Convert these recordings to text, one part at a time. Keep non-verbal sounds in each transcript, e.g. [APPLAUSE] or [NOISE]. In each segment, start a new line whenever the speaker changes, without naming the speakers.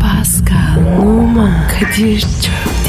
Pascal, Oman, Kadir çok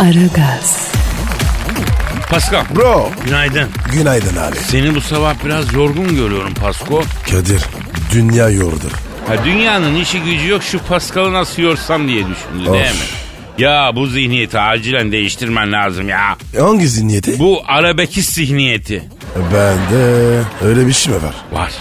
Aragaz,
Pascal.
Bro.
Günaydın.
Günaydın abi.
Seni bu sabah biraz yorgun görüyorum Pasko.
Kadir. Dünya yordu.
Ha, dünyanın işi gücü yok şu Pascal'ı nasıl yorsam diye düşündü
Of.
değil mi? Ya bu zihniyeti acilen değiştirmen lazım ya.
E, Hangi zihniyeti?
Bu arabekist zihniyeti.
Bende öyle bir şey mi var?
Var,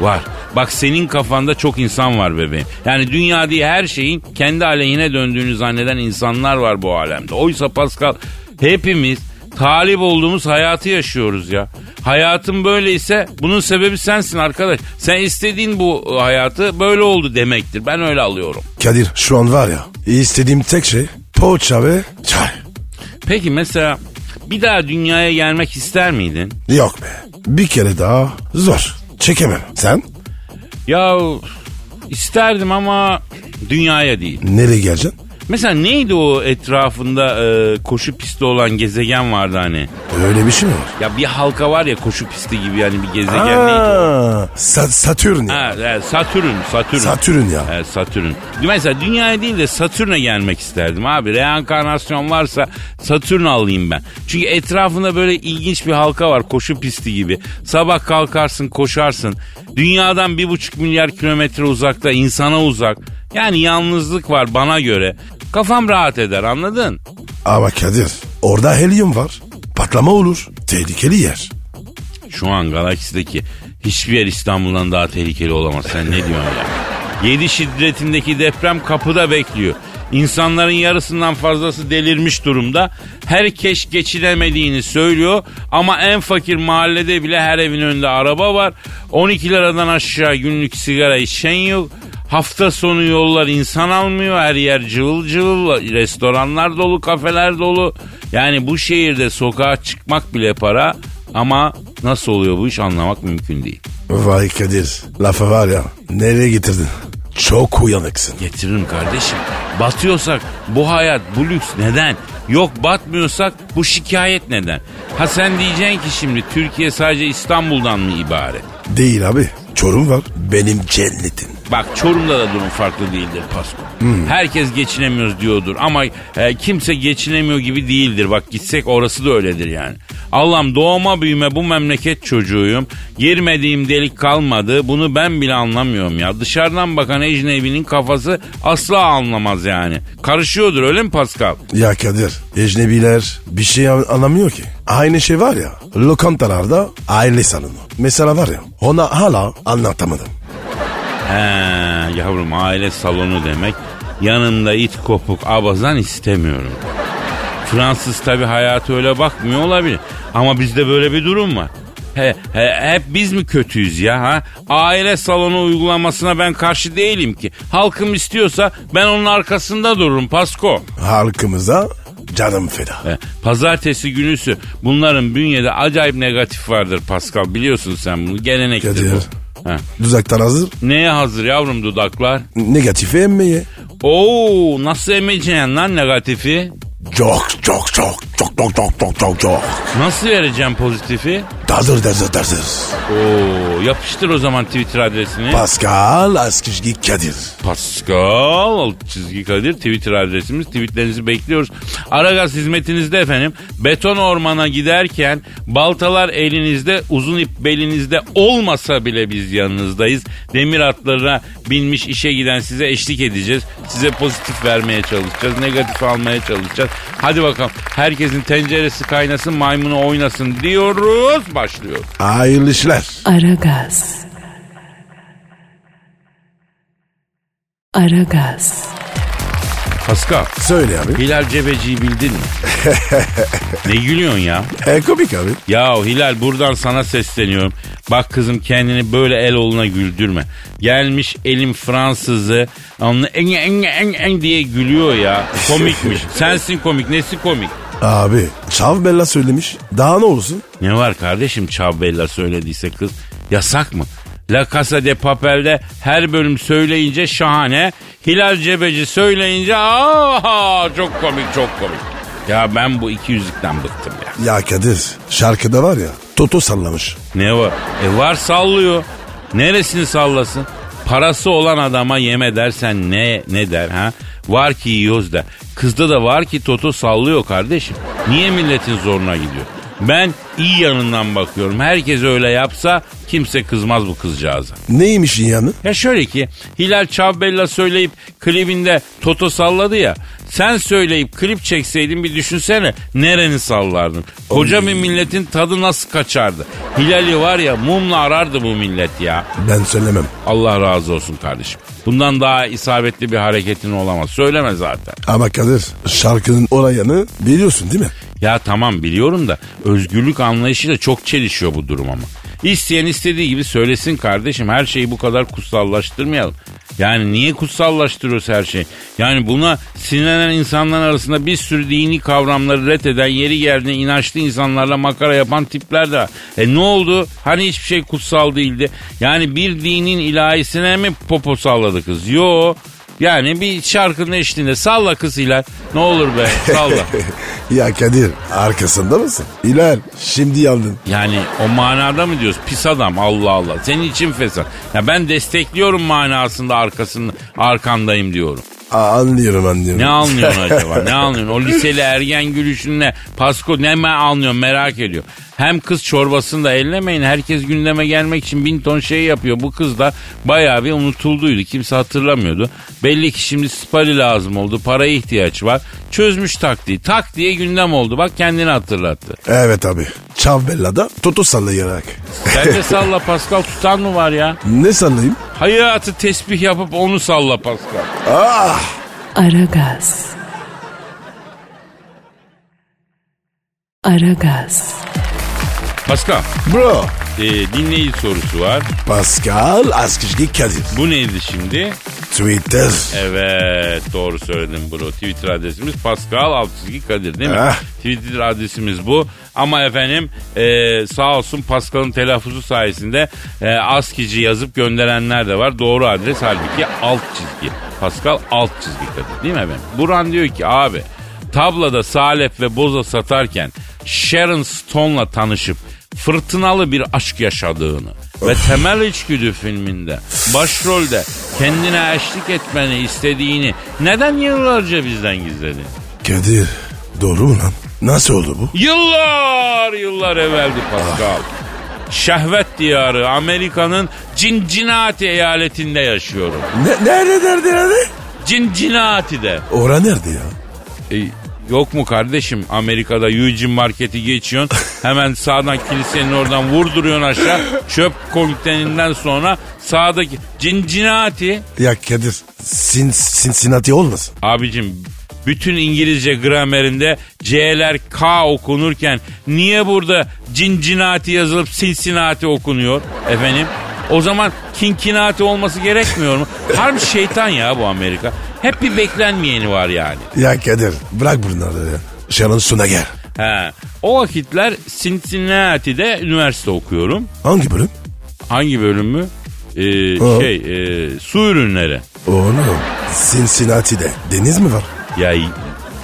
var. Bak senin kafanda çok insan var bebeğim. Yani dünya diye her şeyin kendi aleyhine döndüğünü zanneden insanlar var bu alemde. Oysa Pascal hepimiz talip olduğumuz hayatı yaşıyoruz ya. Hayatın böyleyse bunun sebebi sensin arkadaş. Sen istediğin bu hayatı böyle oldu demektir. Ben öyle alıyorum.
Kadir şu an var ya istediğim tek şey poğaça ve çay.
Peki mesela bir daha dünyaya gelmek ister miydin?
Yok be. Bir kere daha zor. Çekemem. Sen?
Ya isterdim ama dünyaya değil.
Nereye geleceksin?
Mesela neydi o etrafında e, koşu pisti olan gezegen vardı hani?
Öyle bir şey mi var?
Ya bir halka var ya koşu pisti gibi yani bir gezegen neydi? o?
Aa, Sa- Satürn ya.
Hani Ha, e, Satürn, Satürn.
Satürn ya.
E, Satürn. Mesela dünyaya değil de Satürn'e gelmek isterdim abi. Reenkarnasyon varsa Satürn alayım ben. Çünkü etrafında böyle ilginç bir halka var koşu pisti gibi. Sabah kalkarsın koşarsın. Dünyadan bir buçuk milyar kilometre uzakta insana uzak. Yani yalnızlık var bana göre. Kafam rahat eder anladın?
Ama Kadir orada helyum var. Patlama olur. Tehlikeli yer.
Şu an galaksideki hiçbir yer İstanbul'dan daha tehlikeli olamaz. Sen ne diyorsun ya? 7 şiddetindeki deprem kapıda bekliyor. İnsanların yarısından fazlası delirmiş durumda. Herkes geçinemediğini söylüyor ama en fakir mahallede bile her evin önünde araba var. 12 liradan aşağı günlük sigara içen yok. Hafta sonu yollar insan almıyor. Her yer cıvıl cıvıl. Restoranlar dolu, kafeler dolu. Yani bu şehirde sokağa çıkmak bile para. Ama nasıl oluyor bu iş anlamak mümkün değil.
Vay Kadir lafı var ya nereye getirdin? Çok uyanıksın.
Getiririm kardeşim. Batıyorsak bu hayat, bu lüks neden? Yok batmıyorsak bu şikayet neden? Ha sen diyeceksin ki şimdi Türkiye sadece İstanbul'dan mı ibaret?
Değil abi Çorum var benim cennetim.
Bak Çorum'da da durum farklı değildir Pasko. Herkes geçinemiyoruz diyordur ama e, kimse geçinemiyor gibi değildir. Bak gitsek orası da öyledir yani. Allah'ım doğma büyüme bu memleket çocuğuyum. Girmediğim delik kalmadı. Bunu ben bile anlamıyorum ya. Dışarıdan bakan ecnebinin kafası asla anlamaz yani. Karışıyordur öyle mi Pascal?
Ya Kadir ecnebiler bir şey an- anlamıyor ki. Aynı şey var ya lokantalarda aile salonu. Mesela var ya ona hala anlatamadım.
He yavrum aile salonu demek. Yanımda it kopuk abazan istemiyorum. Fransız tabi hayatı öyle bakmıyor olabilir. Ama bizde böyle bir durum var. He, he, hep biz mi kötüyüz ya ha? Aile salonu uygulamasına ben karşı değilim ki. Halkım istiyorsa ben onun arkasında dururum Pasko.
Halkımıza canım feda.
E, Pazartesi günüsü bunların bünyede acayip negatif vardır Pascal biliyorsun sen bunu gelenektir
Kadir.
bu. Ha.
Duzaktan hazır
Neye hazır yavrum dudaklar?
negatifi emmeye.
Oo nasıl emeceksin lan negatifi?
Çok çok çok çok çok çok çok çok çok.
Nasıl vereceğim pozitifi?
Dazır dazır dazır.
Oo yapıştır o zaman Twitter adresini.
Pascal Askışgi Kadir.
Pascal alt çizgi Kadir Twitter adresimiz. Tweetlerinizi bekliyoruz. Aragaz hizmetinizde efendim. Beton ormana giderken baltalar elinizde, uzun ip belinizde olmasa bile biz yanınızdayız. Demir atlarına binmiş işe giden size eşlik edeceğiz. Size pozitif vermeye çalışacağız. Negatif almaya çalışacağız. Hadi bakalım. Herkesin tenceresi kaynasın, maymunu oynasın diyoruz. Başlıyor.
Hayırlı işler.
Aragaz. Aragaz,
Pascal,
Söyle abi.
Hilal Cebeci'yi bildin mi? ne gülüyorsun ya?
E, komik abi.
Ya Hilal buradan sana sesleniyorum. Bak kızım kendini böyle el oluna güldürme. Gelmiş elim Fransızı. Onu en en en en diye gülüyor ya. Komikmiş. Sensin komik. Nesi komik?
Abi Şav Bella söylemiş. Daha ne olsun?
Ne var kardeşim Çavbella söylediyse kız? Yasak mı? La Casa de Papel'de her bölüm söyleyince şahane. Hilal Cebeci söyleyince aa çok komik çok komik. Ya ben bu iki yüzlükten bıktım ya.
Ya Kadir şarkıda var ya Toto sallamış.
Ne var? E var sallıyor. Neresini sallasın? Parası olan adama yeme dersen ne ne der ha? Var ki yiyoruz da. Kızda da var ki Toto sallıyor kardeşim. Niye milletin zoruna gidiyor? Ben iyi yanından bakıyorum. Herkes öyle yapsa kimse kızmaz bu kızcağıza.
Neymiş yani?
Ya şöyle ki Hilal Çavbella söyleyip klibinde Toto salladı ya. Sen söyleyip klip çekseydin bir düşünsene nereni sallardın. Koca bir milletin tadı nasıl kaçardı. Hilal'i var ya mumla arardı bu millet ya.
Ben söylemem.
Allah razı olsun kardeşim. Bundan daha isabetli bir hareketin olamaz. Söyleme zaten.
Ama Kadir şarkının olayını biliyorsun değil mi? [LAUGHS]
Ya tamam biliyorum da özgürlük anlayışıyla çok çelişiyor bu durum ama. İsteyen istediği gibi söylesin kardeşim. Her şeyi bu kadar kutsallaştırmayalım. Yani niye kutsallaştırıyoruz her şeyi? Yani buna sinirlenen insanlar arasında bir sürü dini kavramları reddeden, yeri geldiğinde inançlı insanlarla makara yapan tipler de var. E ne oldu? Hani hiçbir şey kutsal değildi. Yani bir dinin ilahisine mi popo salladı kız? Yo. Yani bir şarkının eşliğinde salla kız Hilal. Ne olur be salla.
Ya Kadir arkasında mısın? İler şimdi yandın.
Yani o manada mı diyoruz? Pis adam Allah Allah. Senin için fesat. Ya ben destekliyorum manasında arkasında arkandayım diyorum.
Aa, anlıyorum anlıyorum. [LAUGHS]
Ne anlıyorsun acaba? Ne anlıyorsun? O liseli ergen gülüşünle Pasko ne mi anlıyorsun merak ediyor. Hem kız çorbasını da ellemeyin. Herkes gündeme gelmek için bin ton şey yapıyor. Bu kız da bayağı bir unutulduydu. Kimse hatırlamıyordu. Belli ki şimdi sipari lazım oldu. Paraya ihtiyaç var. Çözmüş taktiği. Tak diye gündem oldu. Bak kendini hatırlattı.
Evet abi. Çav Bella da Toto sallayarak.
Sen de salla Pascal tutan mı var ya?
Ne sallayayım?
Hayatı tesbih yapıp onu salla Pascal.
Ah!
Aragaz. Aragaz.
Pascal
Bro.
e, dinleyici sorusu var.
Pascal Askışki Kadir.
Bu neydi şimdi?
Twitter.
Evet doğru söyledim bro. Twitter adresimiz Pascal Altçizgi Kadir değil mi?
Ah.
Twitter adresimiz bu. Ama efendim e, sağ olsun Pascal'ın telaffuzu sayesinde e, askici yazıp gönderenler de var. Doğru adres halbuki alt çizgi. Pascal alt çizgi Kadir değil mi efendim? Buran diyor ki abi tablada Salep ve Boza satarken Sharon Stone'la tanışıp fırtınalı bir aşk yaşadığını ve Temel İçgüdü filminde başrolde kendine eşlik etmeni istediğini neden yıllarca bizden gizledin?
Kadir. Doğru mu lan? Nasıl oldu bu?
Yıllar yıllar evveldi Pascal. Şehvet diyarı Amerika'nın Cincinnati eyaletinde yaşıyorum.
Ne, nerede nerede nerede?
Cincinnati'de.
Ora nerede ya?
E, yok mu kardeşim Amerika'da Eugene Market'i geçiyorsun. Hemen sağdan kilisenin oradan vurduruyorsun aşağı. Çöp konteyninden sonra sağdaki Cincinnati.
Ya Kadir. Sin, Cincinnati olmasın?
Abicim bütün İngilizce gramerinde C'ler K okunurken niye burada Cincinnati yazılıp Cincinnati okunuyor efendim? O zaman Kinkinati olması gerekmiyor mu? Harbi şeytan ya bu Amerika. Hep bir beklenmeyeni var yani.
Ya Kadir. Bırak bunları ya. Şaran sona gel.
He. O vakitler Cincinnati'de üniversite okuyorum.
Hangi bölüm?
Hangi bölüm mü? Ee,
Hı.
şey, e, su ürünleri.
Oğlum. Cincinnati'de deniz mi var?
Ya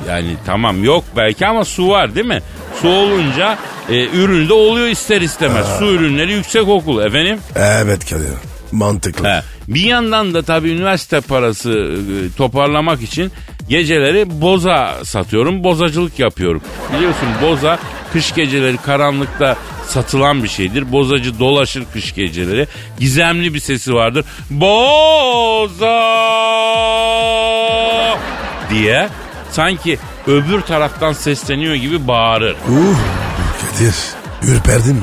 yani tamam yok belki ama su var değil mi? Su olunca e, ürün de oluyor ister istemez. Su ürünleri yüksek okul efendim.
Evet Kadir. Mantıklı.
He. Bir yandan da tabii üniversite parası e, toparlamak için geceleri boza satıyorum. Bozacılık yapıyorum. Biliyorsun boza kış geceleri karanlıkta satılan bir şeydir. Bozacı dolaşır kış geceleri. Gizemli bir sesi vardır. Boza diye sanki öbür taraftan sesleniyor gibi bağırır.
Uh, Kadir. Ürperdim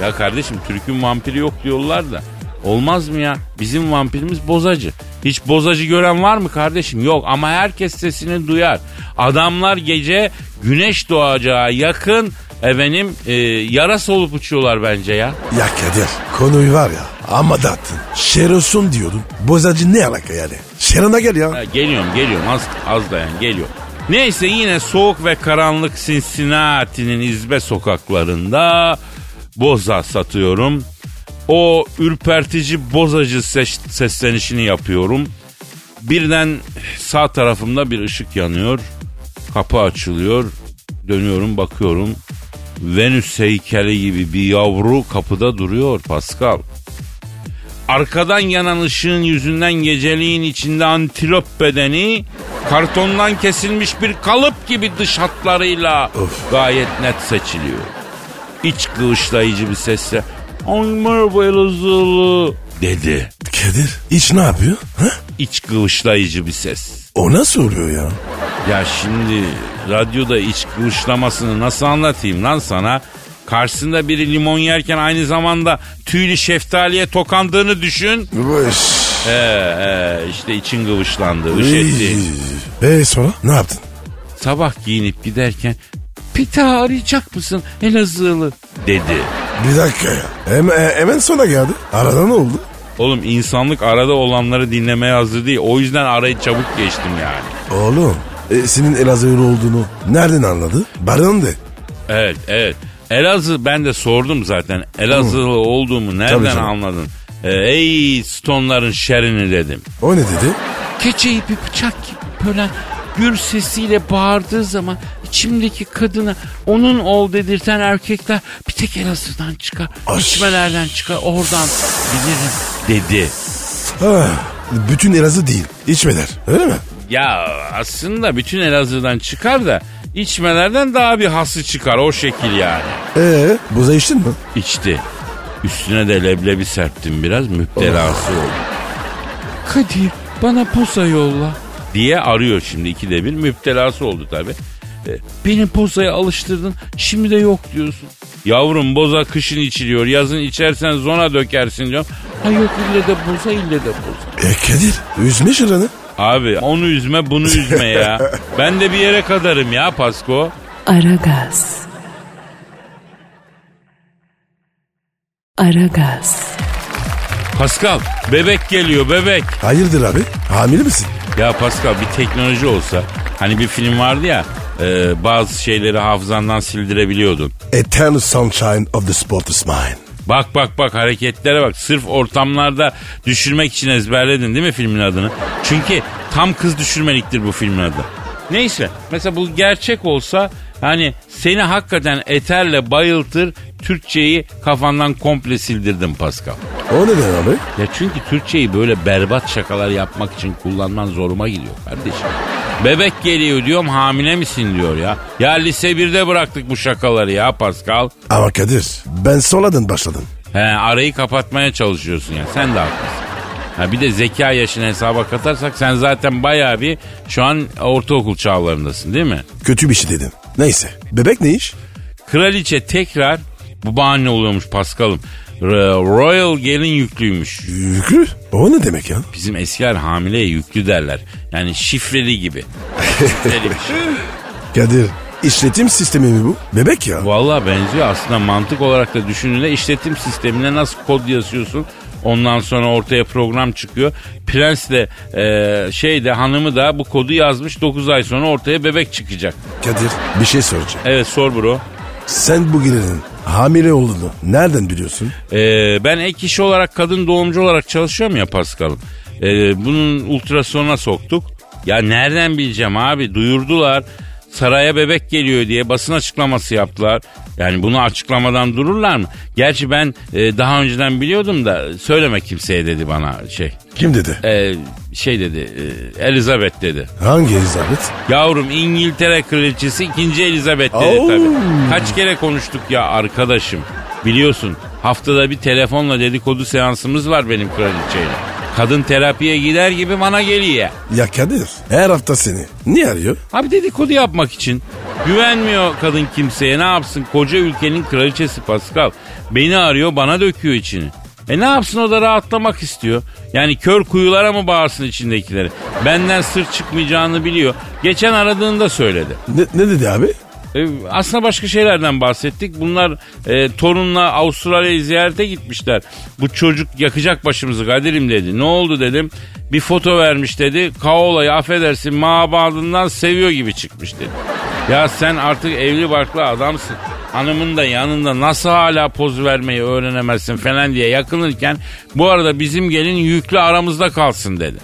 ya.
Ya kardeşim Türk'ün vampiri yok diyorlar da. Olmaz mı ya? Bizim vampirimiz bozacı. Hiç bozacı gören var mı kardeşim? Yok ama herkes sesini duyar. Adamlar gece güneş doğacağı yakın efendim e, yara solup uçuyorlar bence ya.
Ya Kadir konuyu var ya ama dağıttın. Şerosun diyordun. Bozacı ne alaka yani? Şerona gel ya.
Ha, geliyorum geliyorum az, az dayan geliyor. Neyse yine soğuk ve karanlık Cincinnati'nin izbe sokaklarında boza satıyorum. O ürpertici bozacı seç- seslenişini yapıyorum. Birden sağ tarafımda bir ışık yanıyor. Kapı açılıyor. Dönüyorum bakıyorum. Venüs heykeli gibi bir yavru kapıda duruyor Pascal. Arkadan yanan ışığın yüzünden geceliğin içinde antilop bedeni kartondan kesilmiş bir kalıp gibi dış hatlarıyla
Of.
gayet net seçiliyor. İç kıvışlayıcı bir sesle Ay merhaba Elazığlı dedi.
Kadir iç ne yapıyor? Ha?
İç kıvışlayıcı bir ses.
O nasıl oluyor ya?
Ya şimdi radyoda iç kıvışlamasını nasıl anlatayım lan sana? Karşısında biri limon yerken aynı zamanda tüylü şeftaliye tokandığını düşün.
Boş.
Ee, e, işte için gıvışlandı, üşetti.
Eee Ee, sonra ne yaptın?
Sabah giyinip giderken Pita arayacak mısın Elazığlı dedi.
Bir dakika ya. Hem- e, hemen sonra geldi. Arada ne oldu?
Oğlum insanlık arada olanları dinlemeye hazır değil. O yüzden arayı çabuk geçtim yani.
Oğlum e, senin Elazığlı olduğunu nereden anladı? Baran de.
Evet evet. Elazığ ben de sordum zaten. Elazığlı olduğumu
Tabii
nereden
canım.
anladın? Ee, ey Stonların şerini dedim.
O ne dedi?
Keçeyi bir bıçak gibi bölen gür sesiyle bağırdığı zaman içimdeki kadına onun ol dedirten erkekler bir tek Elazığ'dan çıkar.
Ay.
içmelerden çıkar oradan bilirim dedi.
Ha, bütün Elazığ değil. İçmeler. Öyle mi?
Ya aslında bütün Elazığ'dan çıkar da içmelerden daha bir hası çıkar o şekil yani.
Ee, buza içtin mi?
İçti. Üstüne de leblebi serptim biraz müptelası oldu. Kadir bana posa yolla. Diye arıyor şimdi ikide bir müptelası oldu tabi. Beni posaya alıştırdın şimdi de yok diyorsun. Yavrum boza kışın içiliyor yazın içersen zona dökersin diyorum. Ha yok ille de boza ille de boza.
E Kadir üzme şıranı.
Abi onu üzme bunu üzme [LAUGHS] ya. ben de bir yere kadarım ya Pasko.
Aragaz. Aragaz.
Pascal bebek geliyor bebek.
Hayırdır abi? Hamile misin?
Ya Pascal bir teknoloji olsa hani bir film vardı ya e, bazı şeyleri hafızandan sildirebiliyordun.
Eternal sunshine of the spotless mind.
Bak bak bak hareketlere bak sırf ortamlarda düşürmek için ezberledin değil mi filmin adını? Çünkü tam kız düşürmeliktir bu filmin adı. Neyse mesela bu gerçek olsa hani seni hakikaten eterle bayıltır Türkçeyi kafandan komple sildirdim Pascal.
O neden abi?
Ya çünkü Türkçeyi böyle berbat şakalar yapmak için kullanman zoruma gidiyor kardeşim. Bebek geliyor diyorum hamile misin diyor ya. Ya lise 1'de bıraktık bu şakaları ya Pascal.
Ama Kadir ben sonradan başladım.
He, arayı kapatmaya çalışıyorsun ya sen de haklısın. Ha, bir de zeka yaşını hesaba katarsak sen zaten bayağı bir şu an ortaokul çağlarındasın değil mi?
Kötü bir şey dedim. Neyse. Bebek ne iş?
Kraliçe tekrar bu bahane oluyormuş Pascal'ım. Ro- Royal gelin yüklüymüş.
Yükü. O ne demek ya?
Bizim eskiler hamileye yüklü derler. Yani şifreli gibi. Şifreli bir şey.
Kadir işletim sistemi mi bu? Bebek ya.
Valla benziyor aslında mantık olarak da düşündüğünde işletim sistemine nasıl kod yazıyorsun ondan sonra ortaya program çıkıyor. Prens de e, şey de hanımı da bu kodu yazmış 9 ay sonra ortaya bebek çıkacak.
Kadir bir şey soracağım.
Evet sor bro.
Sen bu gelinin hamile olduğunu nereden biliyorsun?
E, ben ek iş olarak kadın doğumcu olarak çalışıyorum ya Paskal'ım. E, bunun ultrasonuna soktuk. Ya nereden bileceğim abi duyurdular. Saraya bebek geliyor diye basın açıklaması yaptılar. Yani bunu açıklamadan dururlar mı? Gerçi ben e, daha önceden biliyordum da söyleme kimseye dedi bana şey.
Kim dedi?
E, şey dedi e, Elizabeth dedi.
Hangi Elizabeth?
Yavrum İngiltere kraliçesi 2. Elizabeth dedi
Oo.
tabii. Kaç kere konuştuk ya arkadaşım. Biliyorsun haftada bir telefonla dedikodu seansımız var benim kraliçeyle. Kadın terapiye gider gibi bana geliyor.
Ya Kadir her hafta seni. Niye arıyor?
Abi dedikodu yapmak için. Güvenmiyor kadın kimseye ne yapsın koca ülkenin kraliçesi Pascal. Beni arıyor bana döküyor içini. E ne yapsın o da rahatlamak istiyor. Yani kör kuyulara mı bağırsın içindekileri? Benden sır çıkmayacağını biliyor. Geçen aradığında söyledi.
Ne, ne dedi abi?
E, aslında başka şeylerden bahsettik. Bunlar e, torunla Avustralya'yı ziyarete gitmişler. Bu çocuk yakacak başımızı Kadir'im dedi. Ne oldu dedim. Bir foto vermiş dedi. Kaola'yı affedersin mabadından seviyor gibi çıkmış dedi. Ya sen artık evli barklı adamsın. Hanımın da yanında nasıl hala poz vermeyi öğrenemezsin falan diye yakınırken bu arada bizim gelin yüklü aramızda kalsın dedi.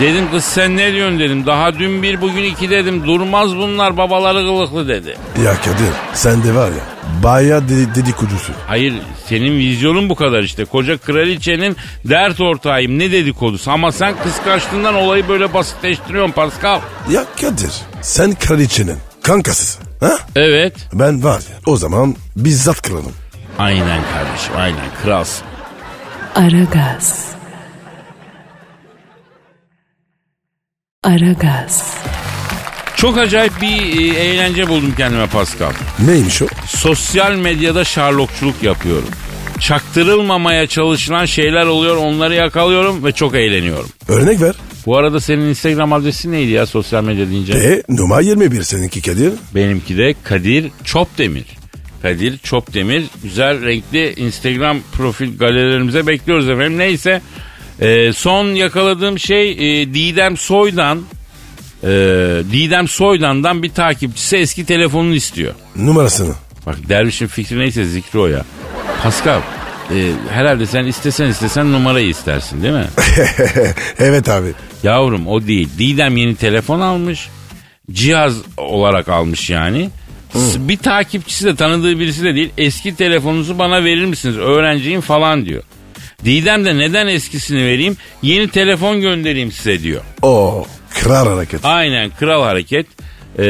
Dedim kız sen ne diyorsun dedim. Daha dün bir bugün iki dedim. Durmaz bunlar babaları kılıklı dedi.
Ya Kadir sen de var ya baya de, dedikodusun.
Hayır senin vizyonun bu kadar işte. Koca kraliçenin dert ortağıyım ne dedikodusu. Ama sen kıskançlığından olayı böyle basitleştiriyorsun Pascal.
Ya Kadir sen kraliçenin kankasısın. Ha?
Evet.
Ben var ya o zaman bizzat kralım.
Aynen kardeşim aynen kralsın.
Aragaz. Aragaz.
Çok acayip bir e, eğlence buldum kendime Pascal.
Neymiş o?
Sosyal medyada şarlokçuluk yapıyorum. Çaktırılmamaya çalışılan şeyler oluyor onları yakalıyorum ve çok eğleniyorum.
Örnek ver.
Bu arada senin Instagram adresi neydi ya sosyal medya deyince?
E numara 21 seninki Kadir.
Benimki de Kadir Çopdemir. Kadir Çopdemir. Güzel renkli Instagram profil galerilerimize bekliyoruz efendim. Neyse e, son yakaladığım şey e, Didem Soydan. E, Didem Soydan'dan bir takipçisi eski telefonunu istiyor.
Numarasını. [LAUGHS]
Bak dervişin fikri neyse zikri o ya. Pascal e, herhalde sen istesen istesen numarayı istersin değil mi?
evet abi.
Yavrum o değil. Didem yeni telefon almış. Cihaz olarak almış yani. S- Bir takipçisi de tanıdığı birisi de değil. Eski telefonunuzu bana verir misiniz? Öğrenciyim falan diyor. Didem de neden eskisini vereyim? Yeni telefon göndereyim size diyor.
O kral hareket.
Aynen kral hareket. Ee,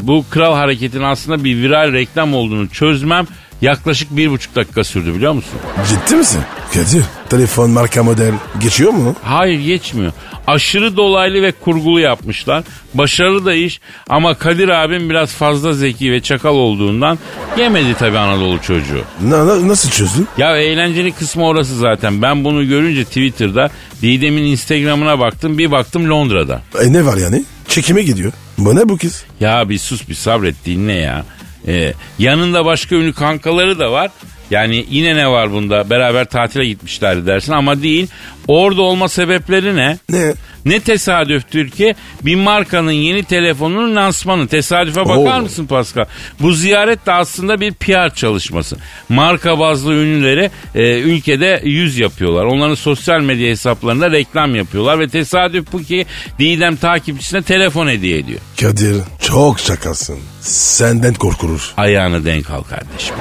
bu kral hareketin aslında bir viral reklam olduğunu çözmem yaklaşık bir buçuk dakika sürdü biliyor musun?
Ciddi misin? Kadir telefon marka model geçiyor mu?
Hayır geçmiyor. Aşırı dolaylı ve kurgulu yapmışlar. Başarılı da iş ama Kadir abim biraz fazla zeki ve çakal olduğundan yemedi tabii Anadolu çocuğu.
Na, na- nasıl çözdün?
Ya eğlenceli kısmı orası zaten. Ben bunu görünce Twitter'da Didem'in Instagram'ına baktım bir baktım Londra'da.
E ne var yani? Çekime gidiyor. Bu ne bu kız?
Ya bir sus bir sabret dinle ya. Ee, yanında başka ünlü kankaları da var. Yani yine ne var bunda? Beraber tatile gitmişler dersin ama değil. Orada olma sebepleri ne?
Ne?
Ne tesadüftür ki bir markanın yeni telefonunun lansmanı. Tesadüfe bakar
Oo.
mısın Pascal? Bu ziyaret de aslında bir PR çalışması. Marka bazlı ünlüleri e, ülkede yüz yapıyorlar. Onların sosyal medya hesaplarında reklam yapıyorlar ve tesadüf bu ki Didem takipçisine telefon hediye ediyor.
Kadir çok şakasın. Senden korkulur.
Ayağını denk al kardeşim.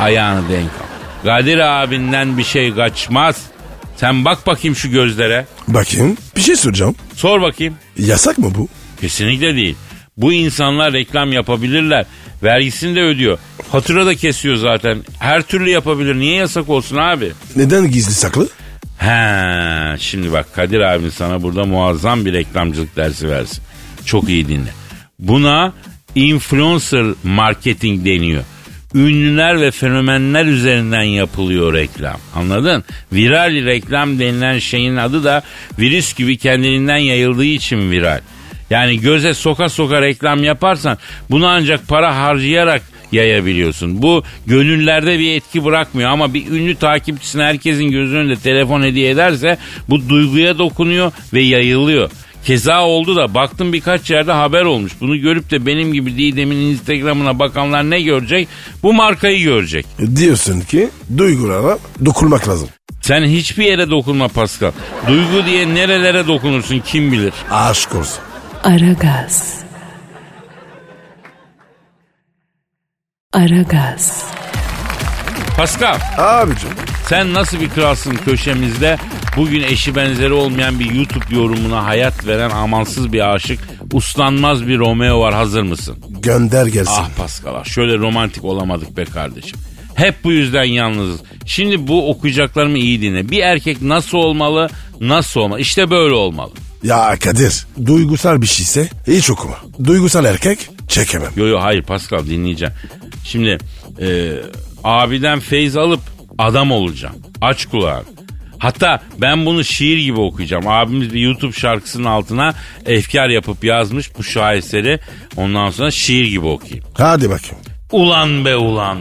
Ayağını denk al. Kadir abinden bir şey kaçmaz. Sen bak bakayım şu gözlere.
Bakayım bir şey soracağım.
Sor bakayım.
Yasak mı bu?
Kesinlikle değil. Bu insanlar reklam yapabilirler. Vergisini de ödüyor. Fatura da kesiyor zaten. Her türlü yapabilir. Niye yasak olsun abi?
Neden gizli saklı?
He, şimdi bak Kadir abin sana burada muazzam bir reklamcılık dersi versin. Çok iyi dinle. Buna influencer marketing deniyor. Ünlüler ve fenomenler üzerinden yapılıyor reklam. Anladın? Viral reklam denilen şeyin adı da virüs gibi kendiliğinden yayıldığı için viral. Yani göze soka soka reklam yaparsan bunu ancak para harcayarak yayabiliyorsun. Bu gönüllerde bir etki bırakmıyor ama bir ünlü takipçisine herkesin gözünün önünde telefon hediye ederse bu duyguya dokunuyor ve yayılıyor. Keza oldu da baktım birkaç yerde haber olmuş. Bunu görüp de benim gibi Didem'in Instagram'ına bakanlar ne görecek? Bu markayı görecek.
Diyorsun ki duygulara dokunmak lazım.
Sen hiçbir yere dokunma Pascal. Duygu diye nerelere dokunursun kim bilir.
Aşk olsun.
Aragaz. Aragaz.
Pascal
Abicim
Sen nasıl bir kralsın köşemizde? Bugün eşi benzeri olmayan bir YouTube yorumuna hayat veren amansız bir aşık, uslanmaz bir Romeo var hazır mısın?
gönder gelsin.
Ah Pascal ah, şöyle romantik olamadık be kardeşim. Hep bu yüzden yalnızız. Şimdi bu okuyacaklarımı iyi dinle. Bir erkek nasıl olmalı, nasıl olmalı? İşte böyle olmalı.
Ya Kadir duygusal bir şeyse hiç okuma. Duygusal erkek çekemem.
Yo yo hayır Pascal dinleyeceğim. Şimdi e, abiden feyz alıp adam olacağım. Aç kulağını. Hatta ben bunu şiir gibi okuyacağım. Abimiz bir YouTube şarkısının altına efkar yapıp yazmış bu şaheseri. Ondan sonra şiir gibi okuyayım.
Hadi bakayım.
Ulan be ulan.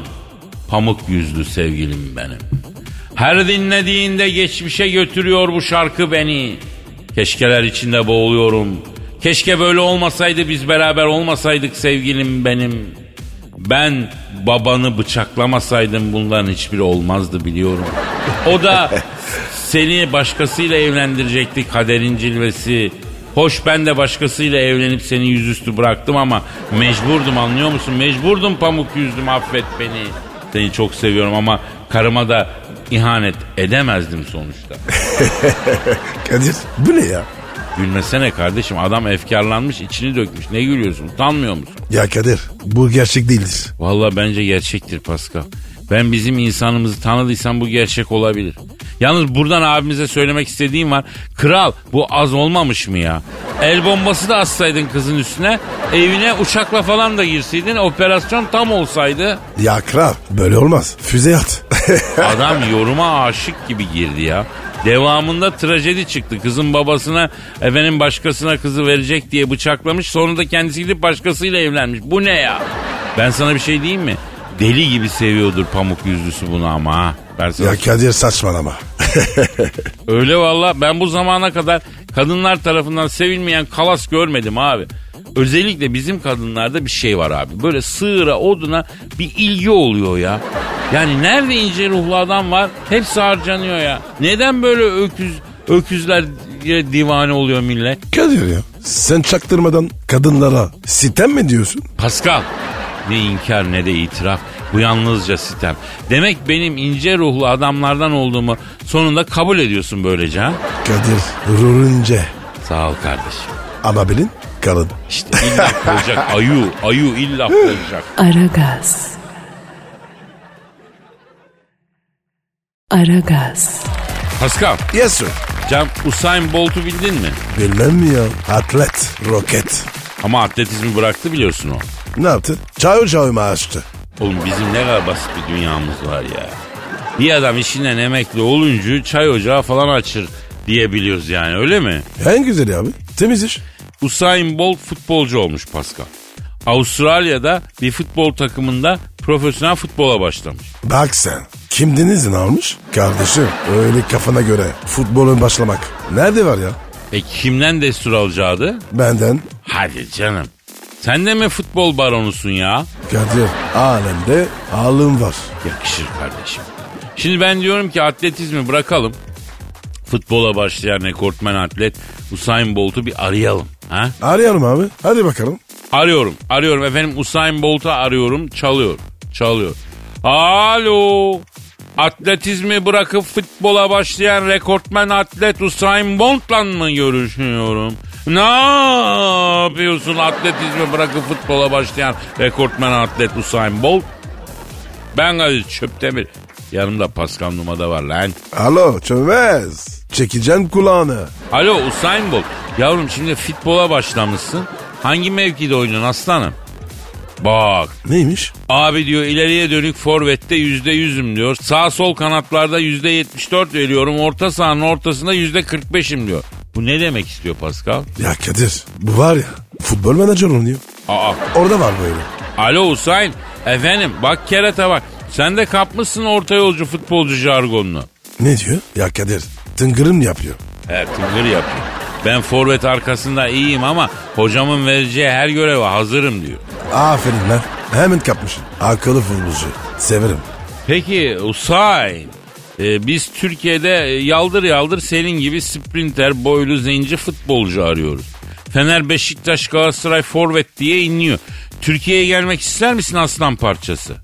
Pamuk yüzlü sevgilim benim. Her dinlediğinde geçmişe götürüyor bu şarkı beni. Keşkeler içinde boğuluyorum. Keşke böyle olmasaydı biz beraber olmasaydık sevgilim benim. Ben babanı bıçaklamasaydım bunların hiçbiri olmazdı biliyorum. O da seni başkasıyla evlendirecekti kaderin cilvesi. Hoş ben de başkasıyla evlenip seni yüzüstü bıraktım ama mecburdum anlıyor musun? Mecburdum pamuk yüzlüm affet beni. Seni çok seviyorum ama karıma da ihanet edemezdim sonuçta.
Kadir bu ne ya?
Gülmesene kardeşim adam efkarlanmış içini dökmüş. Ne gülüyorsun utanmıyor musun?
Ya Kadir bu gerçek değildir.
Valla bence gerçektir Pascal. Ben bizim insanımızı tanıdıysam bu gerçek olabilir. Yalnız buradan abimize söylemek istediğim var. Kral bu az olmamış mı ya? El bombası da atsaydın kızın üstüne. Evine uçakla falan da girseydin operasyon tam olsaydı.
Ya kral böyle olmaz. Füze at.
Adam yoruma aşık gibi girdi ya. Devamında trajedi çıktı. Kızın babasına efendim başkasına kızı verecek diye bıçaklamış. Sonra da kendisi gidip başkasıyla evlenmiş. Bu ne ya? Ben sana bir şey diyeyim mi? Deli gibi seviyordur pamuk yüzlüsü bunu ama ha. Ben sana
ya Kadir saçmalama. [LAUGHS]
Öyle valla ben bu zamana kadar kadınlar tarafından sevilmeyen kalas görmedim abi. Özellikle bizim kadınlarda bir şey var abi. Böyle sığıra oduna bir ilgi oluyor ya. Yani nerede ince ruhlu adam var hepsi harcanıyor ya. Neden böyle öküz öküzler divane oluyor millet?
Kadir ya sen çaktırmadan kadınlara sitem mi diyorsun?
Pascal ne inkar ne de itiraf. Bu yalnızca sitem. Demek benim ince ruhlu adamlardan olduğumu sonunda kabul ediyorsun böylece ha?
Kadir rurunce
Sağ ol kardeşim.
ama bilin kalın.
İşte illa olacak ayu, ayu illa olacak.
Aragaz. Aragaz.
Pascal,
Yes sir.
Can Usain Bolt'u bildin mi?
Bilmem mi ya atlet roket.
Ama atletizmi bıraktı biliyorsun o.
Ne yaptın? Çağır çağırma açtı.
Oğlum bizim ne kadar basit bir dünyamız var ya. Bir adam işinden emekli olunca çay ocağı falan açır diyebiliyoruz yani öyle mi?
En güzeli abi temiz iş.
Usain Bolt futbolcu olmuş Pascal. Avustralya'da bir futbol takımında profesyonel futbola başlamış.
Bak sen kimden izin almış? Kardeşim öyle kafana göre futbolun başlamak. Nerede var ya?
E kimden destur alacağı da?
Benden
Hadi canım. Sen de mi futbol baronusun ya?
Kadir alemde ağlım var.
Yakışır kardeşim. Şimdi ben diyorum ki atletizmi bırakalım. Futbola başlayan rekortmen atlet Usain Bolt'u bir arayalım. Ha?
Arayalım abi hadi bakalım.
Arıyorum, arıyorum efendim Usain Bolt'u arıyorum. Çalıyor, çalıyor. Alo. Atletizmi bırakıp futbola başlayan rekortmen atlet Usain Bolt'la mı görüşüyorum? Ne yapıyorsun atletizmi bırakıp futbola başlayan rekortmen atlet Usain Bolt? Ben Kadir Çöptemir. Yanımda Pascal Numa da var lan.
Alo çömez. Çekeceğim kulağını.
Alo Usain Bolt. Yavrum şimdi futbola başlamışsın. Hangi mevkide oynuyorsun aslanım? Bak
Neymiş?
Abi diyor ileriye dönük forvette yüzde yüzüm diyor. Sağ sol kanatlarda yüzde yetmiş dört veriyorum. Orta sahanın ortasında yüzde kırk beşim diyor. Bu ne demek istiyor Pascal?
Ya Kadir bu var ya futbol menajer oynuyor.
Aa,
Orada var böyle.
alo Hüseyin. Efendim bak kerata bak. Sen de kapmışsın orta yolcu futbolcu jargonunu.
Ne diyor? Ya Kadir tıngırım yapıyor.
He tıngır yapıyor. Ben forvet arkasında iyiyim ama hocamın vereceği her göreve hazırım diyor.
Aferin lan. Hemen kapmışsın. Akıllı futbolcu. Severim.
Peki Usain. e, biz Türkiye'de e, yaldır yaldır senin gibi sprinter, boylu, zenci futbolcu arıyoruz. Fener, Beşiktaş, Galatasaray, Forvet diye inliyor. Türkiye'ye gelmek ister misin aslan parçası?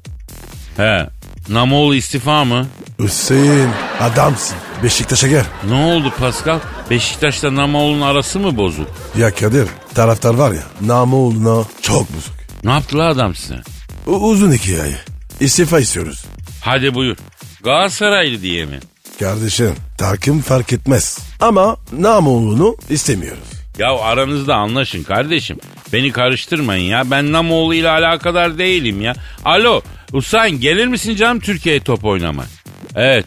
He. Namoğlu istifa mı?
Hüseyin adamsın. Beşiktaş'a gel.
Ne oldu Pascal? Beşiktaş'la Namoğlu'nun arası mı bozuk?
Ya Kadir taraftar var ya namı oğluna çok bozuk.
Ne yaptı la adam size?
U- uzun hikaye. İstifa istiyoruz.
Hadi buyur. Galatasaraylı diye mi?
Kardeşim takım fark etmez. Ama Namoğlu'nu istemiyoruz.
Ya aranızda anlaşın kardeşim. Beni karıştırmayın ya. Ben Namoğlu ile alakadar değilim ya. Alo Usain gelir misin canım Türkiye'ye top oynamaya? Evet.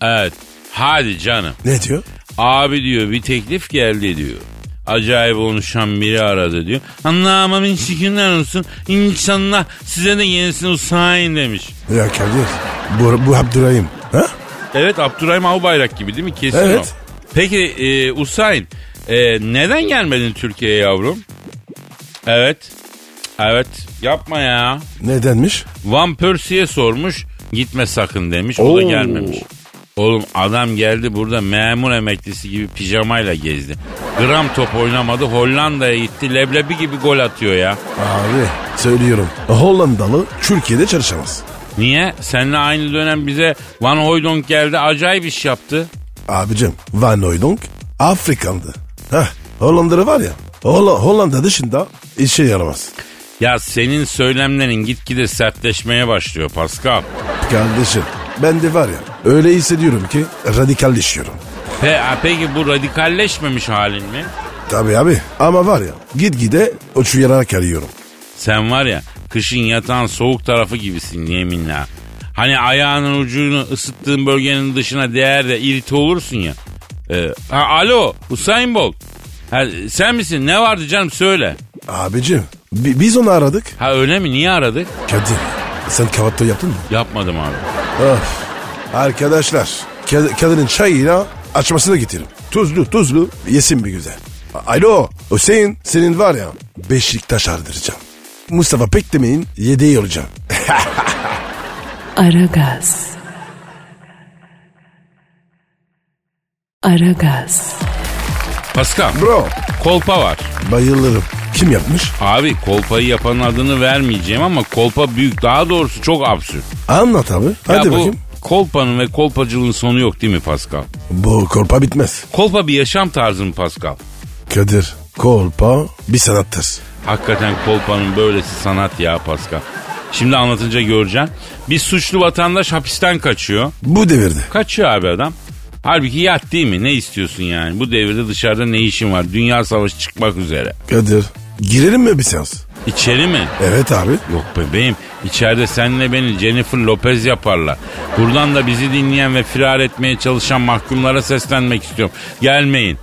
Evet. Hadi canım.
Ne diyor?
Abi diyor bir teklif geldi diyor. Acayip konuşan biri aradı diyor. Anlamamın şükürler olsun. İnşallah size de yenisini usayın demiş.
Ya Kadir. Bu, bu Abdurrahim. Ha?
Evet Abdurrahim Albayrak gibi değil mi? Kesin
Evet.
o. Peki e, Usain e, neden gelmedin Türkiye'ye yavrum? Evet. Evet yapma ya.
Nedenmiş?
Van Persie'ye sormuş. Gitme sakın demiş. O da
Oo.
gelmemiş. Oğlum adam geldi burada memur emeklisi gibi pijamayla gezdi. Gram top oynamadı Hollanda'ya gitti leblebi gibi gol atıyor ya.
Abi söylüyorum. Hollandalı Türkiye'de çalışamaz.
Niye? Seninle aynı dönem bize Van Hooydonk geldi acayip iş yaptı.
Abicim Van Hooydonk Afrikandı. Heh, Hollandalı var ya. Holla- Hollanda dışında işe yaramaz.
Ya senin söylemlerin gitgide sertleşmeye başlıyor Pascal.
Kardeşim ben de var ya öyle hissediyorum ki radikalleşiyorum.
Pe ha, peki bu radikalleşmemiş halin mi?
Tabii abi ama var ya gitgide uçuyarak arıyorum.
Sen var ya kışın yatağın soğuk tarafı gibisin yeminle. ha. Hani ayağının ucunu ısıttığın bölgenin dışına değer de irite olursun ya. Ee, ha, alo Usain Bolt. Ha, sen misin? Ne vardı canım söyle.
Abicim bi- biz onu aradık.
Ha öyle mi? Niye aradık?
Kadir sen kahvaltı yaptın mı?
Yapmadım abi.
Of. Arkadaşlar Kad- kadının çayıyla açmasını getirin. Tuzlu tuzlu yesin bir güzel. A- Alo Hüseyin senin var ya Beşiktaş ardıracağım. Mustafa Pekdemir'in yedeği olacağım.
Aragaz. Aragaz.
Pascal
Bro
kolpa var.
bayılırım. Kim yapmış?
Abi kolpayı yapanın adını vermeyeceğim ama kolpa büyük. Daha doğrusu çok absürt.
Anlat abi. Hadi
ya bu
bakayım.
kolpanın ve kolpacılığın sonu yok değil mi Pascal?
Bu kolpa bitmez.
Kolpa bir yaşam tarzı mı Pascal?
Kadir kolpa bir sanattır.
Hakikaten kolpanın böylesi sanat ya Pascal. Şimdi anlatınca göreceksin. Bir suçlu vatandaş hapisten kaçıyor.
Bu devirde.
Kaçıyor abi adam. Halbuki yat değil mi? Ne istiyorsun yani? Bu devirde dışarıda ne işin var? Dünya savaşı çıkmak üzere.
Kadir girelim mi bir seans?
İçeri mi?
Evet abi.
Yok bebeğim içeride senle beni Jennifer Lopez yaparlar. Buradan da bizi dinleyen ve firar etmeye çalışan mahkumlara seslenmek istiyorum. Gelmeyin.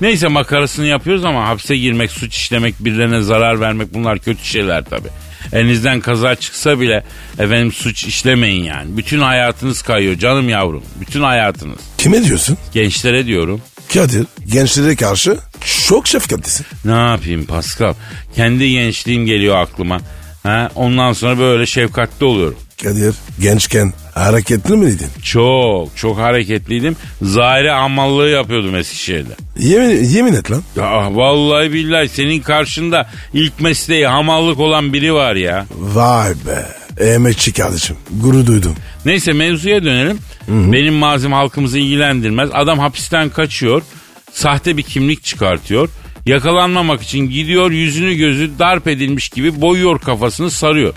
Neyse makarasını yapıyoruz ama hapse girmek, suç işlemek, birilerine zarar vermek bunlar kötü şeyler tabii. Elinizden kaza çıksa bile efendim suç işlemeyin yani. Bütün hayatınız kayıyor canım yavrum. Bütün hayatınız.
Kime diyorsun?
Gençlere diyorum.
Kadir gençlere karşı çok şefkatlisin.
Ne yapayım Pascal? Kendi gençliğim geliyor aklıma. Ha? Ondan sonra böyle şefkatli oluyorum.
Kadir gençken hareketli miydin?
Çok çok hareketliydim. Zahire amallığı yapıyordum Eskişehir'de.
Yemin, yemin et lan.
Ya ah, vallahi billahi senin karşında ilk mesleği hamallık olan biri var ya.
Vay be. Emekçi kardeşim. Gurur duydum.
Neyse mevzuya dönelim. Benim mazim halkımızı ilgilendirmez. Adam hapisten kaçıyor. Sahte bir kimlik çıkartıyor. Yakalanmamak için gidiyor yüzünü gözü darp edilmiş gibi boyuyor kafasını sarıyor.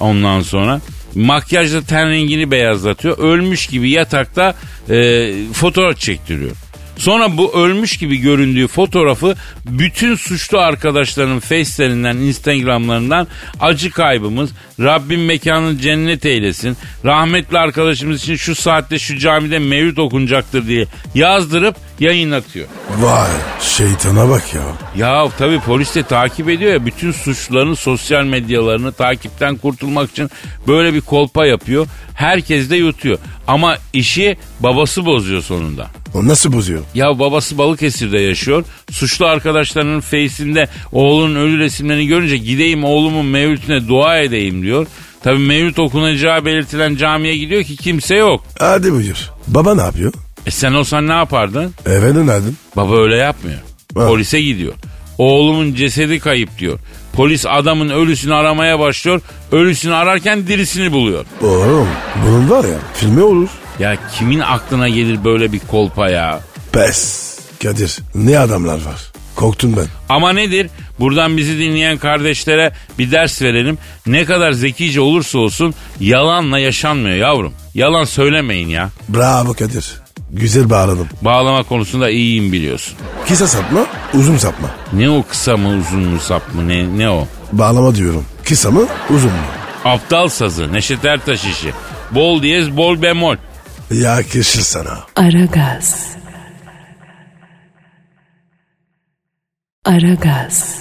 Ondan sonra makyajla ten rengini beyazlatıyor. Ölmüş gibi yatakta e, fotoğraf çektiriyor. Sonra bu ölmüş gibi göründüğü fotoğrafı bütün suçlu arkadaşlarının facelerinden, instagramlarından acı kaybımız, Rabbim mekanını cennet eylesin, rahmetli arkadaşımız için şu saatte şu camide mevlüt okunacaktır diye yazdırıp yayınlatıyor.
Vay şeytana bak ya.
Ya tabii polis de takip ediyor ya bütün suçluların sosyal medyalarını takipten kurtulmak için böyle bir kolpa yapıyor. Herkes de yutuyor ama işi babası bozuyor sonunda.
O nasıl bozuyor?
Ya babası Balıkesir'de yaşıyor. Suçlu arkadaşlarının face'inde oğlunun ölü resimlerini görünce gideyim oğlumun mevlütüne dua edeyim diyor. Tabii mevlüt okunacağı belirtilen camiye gidiyor ki kimse yok.
Hadi buyur. Baba ne yapıyor?
E sen olsan ne yapardın?
Eve dönerdin.
Baba öyle yapmıyor.
Ha.
Polise gidiyor. Oğlumun cesedi kayıp diyor. Polis adamın ölüsünü aramaya başlıyor. Ölüsünü ararken dirisini buluyor.
Oğlum bunun var ya filmi olur.
Ya kimin aklına gelir böyle bir kolpa ya?
Pes. Kadir ne adamlar var. Korktum ben.
Ama nedir? Buradan bizi dinleyen kardeşlere bir ders verelim. Ne kadar zekice olursa olsun yalanla yaşanmıyor yavrum. Yalan söylemeyin ya.
Bravo Kadir. Güzel bağladım.
Bağlama konusunda iyiyim biliyorsun.
Kısa sapma, uzun sapma.
Ne o kısa mı uzun mu sap mı ne, ne o?
Bağlama diyorum. Kısa mı, uzun mu?
Aptal sazı, Neşet Ertaş işi. Bol diyez bol bemol.
Yakışır sana.
Aragaz. Aragaz.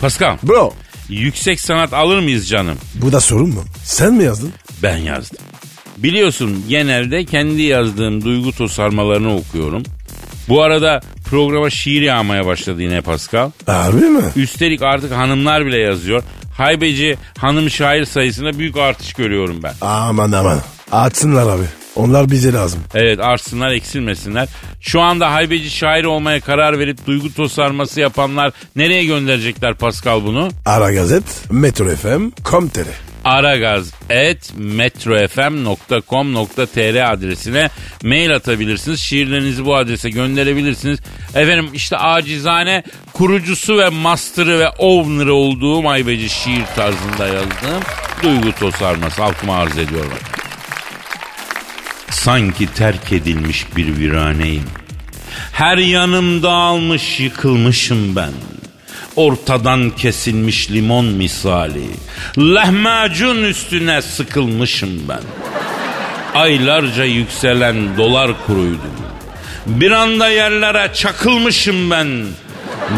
Pascal
Bro
yüksek sanat alır mıyız canım?
bu da sorun mu? Sen mi yazdın?
Ben yazdım. Biliyorsun genelde kendi yazdığım duygu tosarmalarını okuyorum. Bu arada programa şiir yağmaya başladı yine Pascal.
Harbi mi?
Üstelik artık hanımlar bile yazıyor. Haybeci hanım şair sayısında büyük artış görüyorum ben.
Aman aman. Atsınlar abi. Onlar bize lazım.
Evet artsınlar eksilmesinler. Şu anda haybeci şair olmaya karar verip duygu tosarması yapanlar nereye gönderecekler Pascal bunu?
Ara Gazet, Metro FM, Komtere.
aragaz et metrofm.com.tr adresine mail atabilirsiniz. Şiirlerinizi bu adrese gönderebilirsiniz. Efendim işte acizane kurucusu ve master'ı ve owner'ı olduğum Aybeci şiir tarzında yazdığım duygu tosarması halkıma arz ediyorum. Sanki terk edilmiş bir viraneyim. Her yanım dağılmış yıkılmışım ben. Ortadan kesilmiş limon misali. Lahmacun üstüne sıkılmışım ben. Aylarca yükselen dolar kuruydum. Bir anda yerlere çakılmışım ben.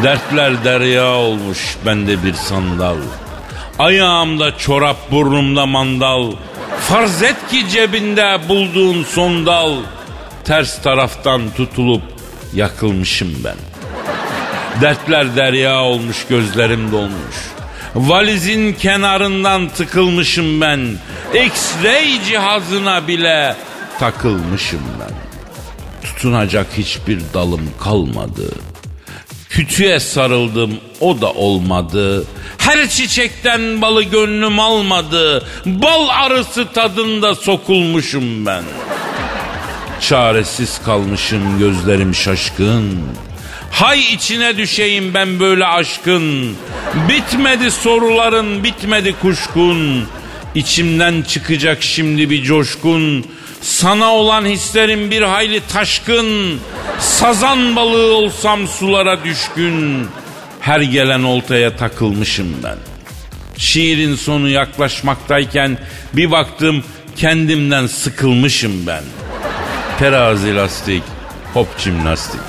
Dertler derya olmuş bende bir sandal. Ayağımda çorap burnumda mandal. Farz et ki cebinde bulduğun son dal. Ters taraftan tutulup yakılmışım ben. Dertler derya olmuş gözlerim dolmuş. Valizin kenarından tıkılmışım ben. X-ray cihazına bile takılmışım ben. Tutunacak hiçbir dalım kalmadı. Kütüye sarıldım o da olmadı. Her çiçekten balı gönlüm almadı. Bal arısı tadında sokulmuşum ben. Çaresiz kalmışım gözlerim şaşkın. Hay içine düşeyim ben böyle aşkın. Bitmedi soruların, bitmedi kuşkun. İçimden çıkacak şimdi bir coşkun. Sana olan hislerim bir hayli taşkın. Sazan balığı olsam sulara düşkün. Her gelen oltaya takılmışım ben. Şiirin sonu yaklaşmaktayken bir baktım kendimden sıkılmışım ben. Terazi lastik, hop jimnastik.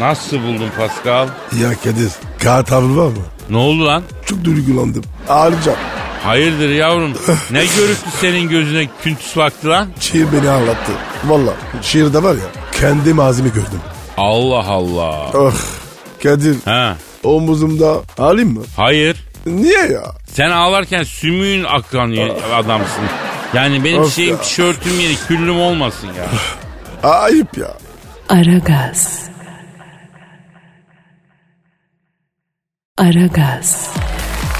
Nasıl buldun Pascal?
Ya Kadir, kağıt havlu var mı?
Ne oldu lan?
Çok duygulandım. Ağlayacağım.
Hayırdır yavrum? Ne görüktü senin gözüne küntüs baktı lan?
Şiir beni ağlattı. Valla şiirde var ya kendi mazimi gördüm.
Allah Allah.
Oh Kadir
Ha,
omuzumda ağlayayım mı?
hayır.
Niye ya?
Sen ağlarken sümüğün akan ye- adamsın. Yani benim
Of
şeyim
ya.
tişörtüm yeri küllüm olmasın ya.
Ayıp ya.
Aragaz. Aragaz.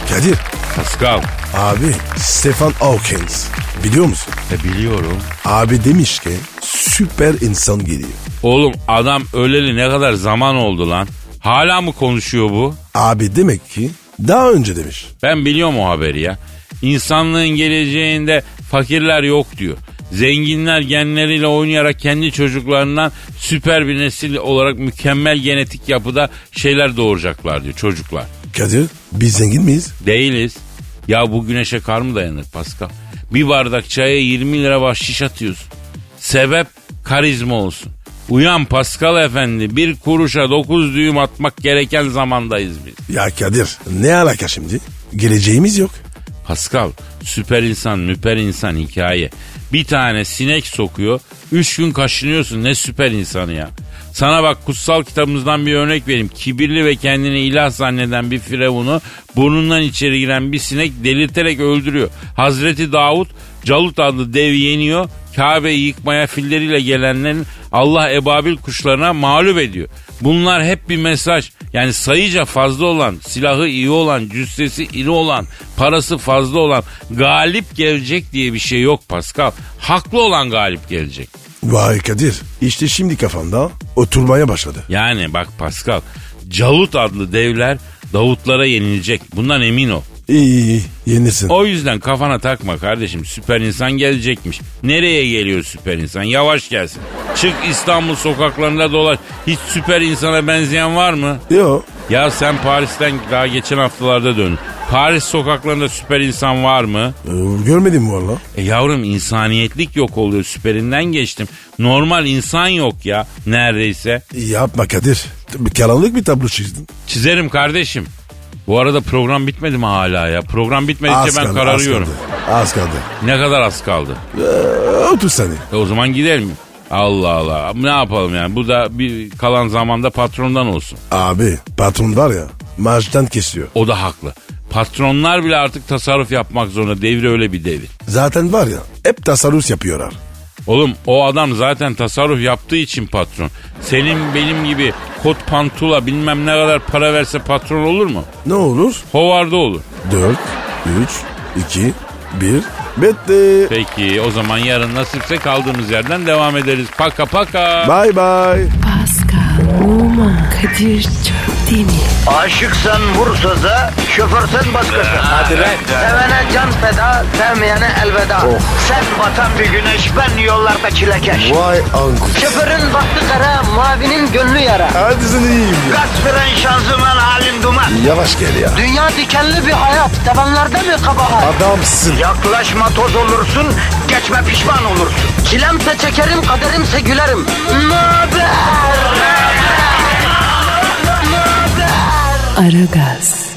Kadir
Pascal.
abi Stefan Hawkins biliyor musun?
E biliyorum.
Abi demiş ki süper insan geliyor.
Oğlum adam öleli ne kadar zaman oldu lan. Hala mı konuşuyor bu?
Abi demek ki daha önce demiş.
Ben biliyorum o haberi ya. İnsanlığın geleceğinde fakirler yok diyor. Zenginler genleriyle oynayarak kendi çocuklarından süper bir nesil olarak mükemmel genetik yapıda şeyler doğuracaklar diyor çocuklar.
Kadir biz zengin miyiz?
Değiliz. Ya bu güneşe kar mı dayanır Pascal? Bir bardak çaya 20 lira bahşiş atıyorsun. Sebep karizma olsun. Uyan Pascal efendi bir kuruşa dokuz düğüm atmak gereken zamandayız biz.
Ya Kadir ne alaka şimdi? Geleceğimiz yok.
Pascal süper insan müper insan hikaye. Bir tane sinek sokuyor. Üç gün kaşınıyorsun ne süper insanı ya. Sana bak kutsal kitabımızdan bir örnek vereyim. Kibirli ve kendini ilah zanneden bir firavunu burnundan içeri giren bir sinek delirterek öldürüyor. Hazreti Davut Calut adlı dev yeniyor. Kabe'yi yıkmaya filleriyle gelenlerin Allah ebabil kuşlarına mağlup ediyor. Bunlar hep bir mesaj. Yani sayıca fazla olan, silahı iyi olan, cüssesi iri olan, parası fazla olan galip gelecek diye bir şey yok Pascal. Haklı olan galip gelecek.
Vay Kadir işte şimdi kafamda oturmaya başladı.
Yani bak Pascal, Calut adlı devler Davutlara yenilecek. Bundan emin ol.
İyi iyi, iyi yenilsin.
O yüzden kafana takma kardeşim. Süper insan gelecekmiş. Nereye geliyor süper insan? Yavaş gelsin. Çık İstanbul sokaklarında dolaş. Hiç süper insana benzeyen var mı?
Yo
Ya sen Paris'ten daha geçen haftalarda dön. Paris sokaklarında süper insan var mı?
Ee, görmedim valla.
E yavrum insaniyetlik yok oluyor süperinden geçtim. Normal insan yok ya neredeyse.
Yapma Kadir. Karanlık bir tablo çizdin.
Çizerim kardeşim. Bu arada program bitmedi mi hala ya? Program bitmedikçe ben kararıyorum.
Az kaldı. Az kaldı.
Ne kadar az kaldı?
Ee, 30 saniye.
E o zaman gidelim. Allah Allah. Ne yapalım yani? Bu da bir kalan zamanda patrondan olsun.
Abi patron var ya maaştan kesiyor.
O da haklı. Patronlar bile artık tasarruf yapmak zorunda. Devir öyle bir devir.
Zaten var ya hep tasarruf yapıyorlar.
Oğlum o adam zaten tasarruf yaptığı için patron. Senin benim gibi kot pantula bilmem ne kadar para verse patron olur mu?
Ne olur?
Hovarda olur.
4, 3, 2, 1. Bitti.
Peki o zaman yarın nasipse kaldığımız yerden devam ederiz. Paka paka.
Bye bye.
Pascal, Oman, Kadir çok değil mi?
Aşıksan vursa da şoförsen başkasın. Hadi
lan.
Sevene can feda, sevmeyene elveda. Sen batan bir güneş, ben yollarda çilekeş.
Vay anku.
Şoförün baktı kara, mavinin gönlü yara.
Hadi sen iyiyim ya.
Kasperen şanzıman halin duman.
Yavaş gel ya.
Dünya dikenli bir hayat, sevenlerde mi kabahar?
Adamsın.
Yaklaşma toz olursun, geçme pişman olursun. Çilemse çekerim, kaderimse gülerim. Möber!
Aragaz.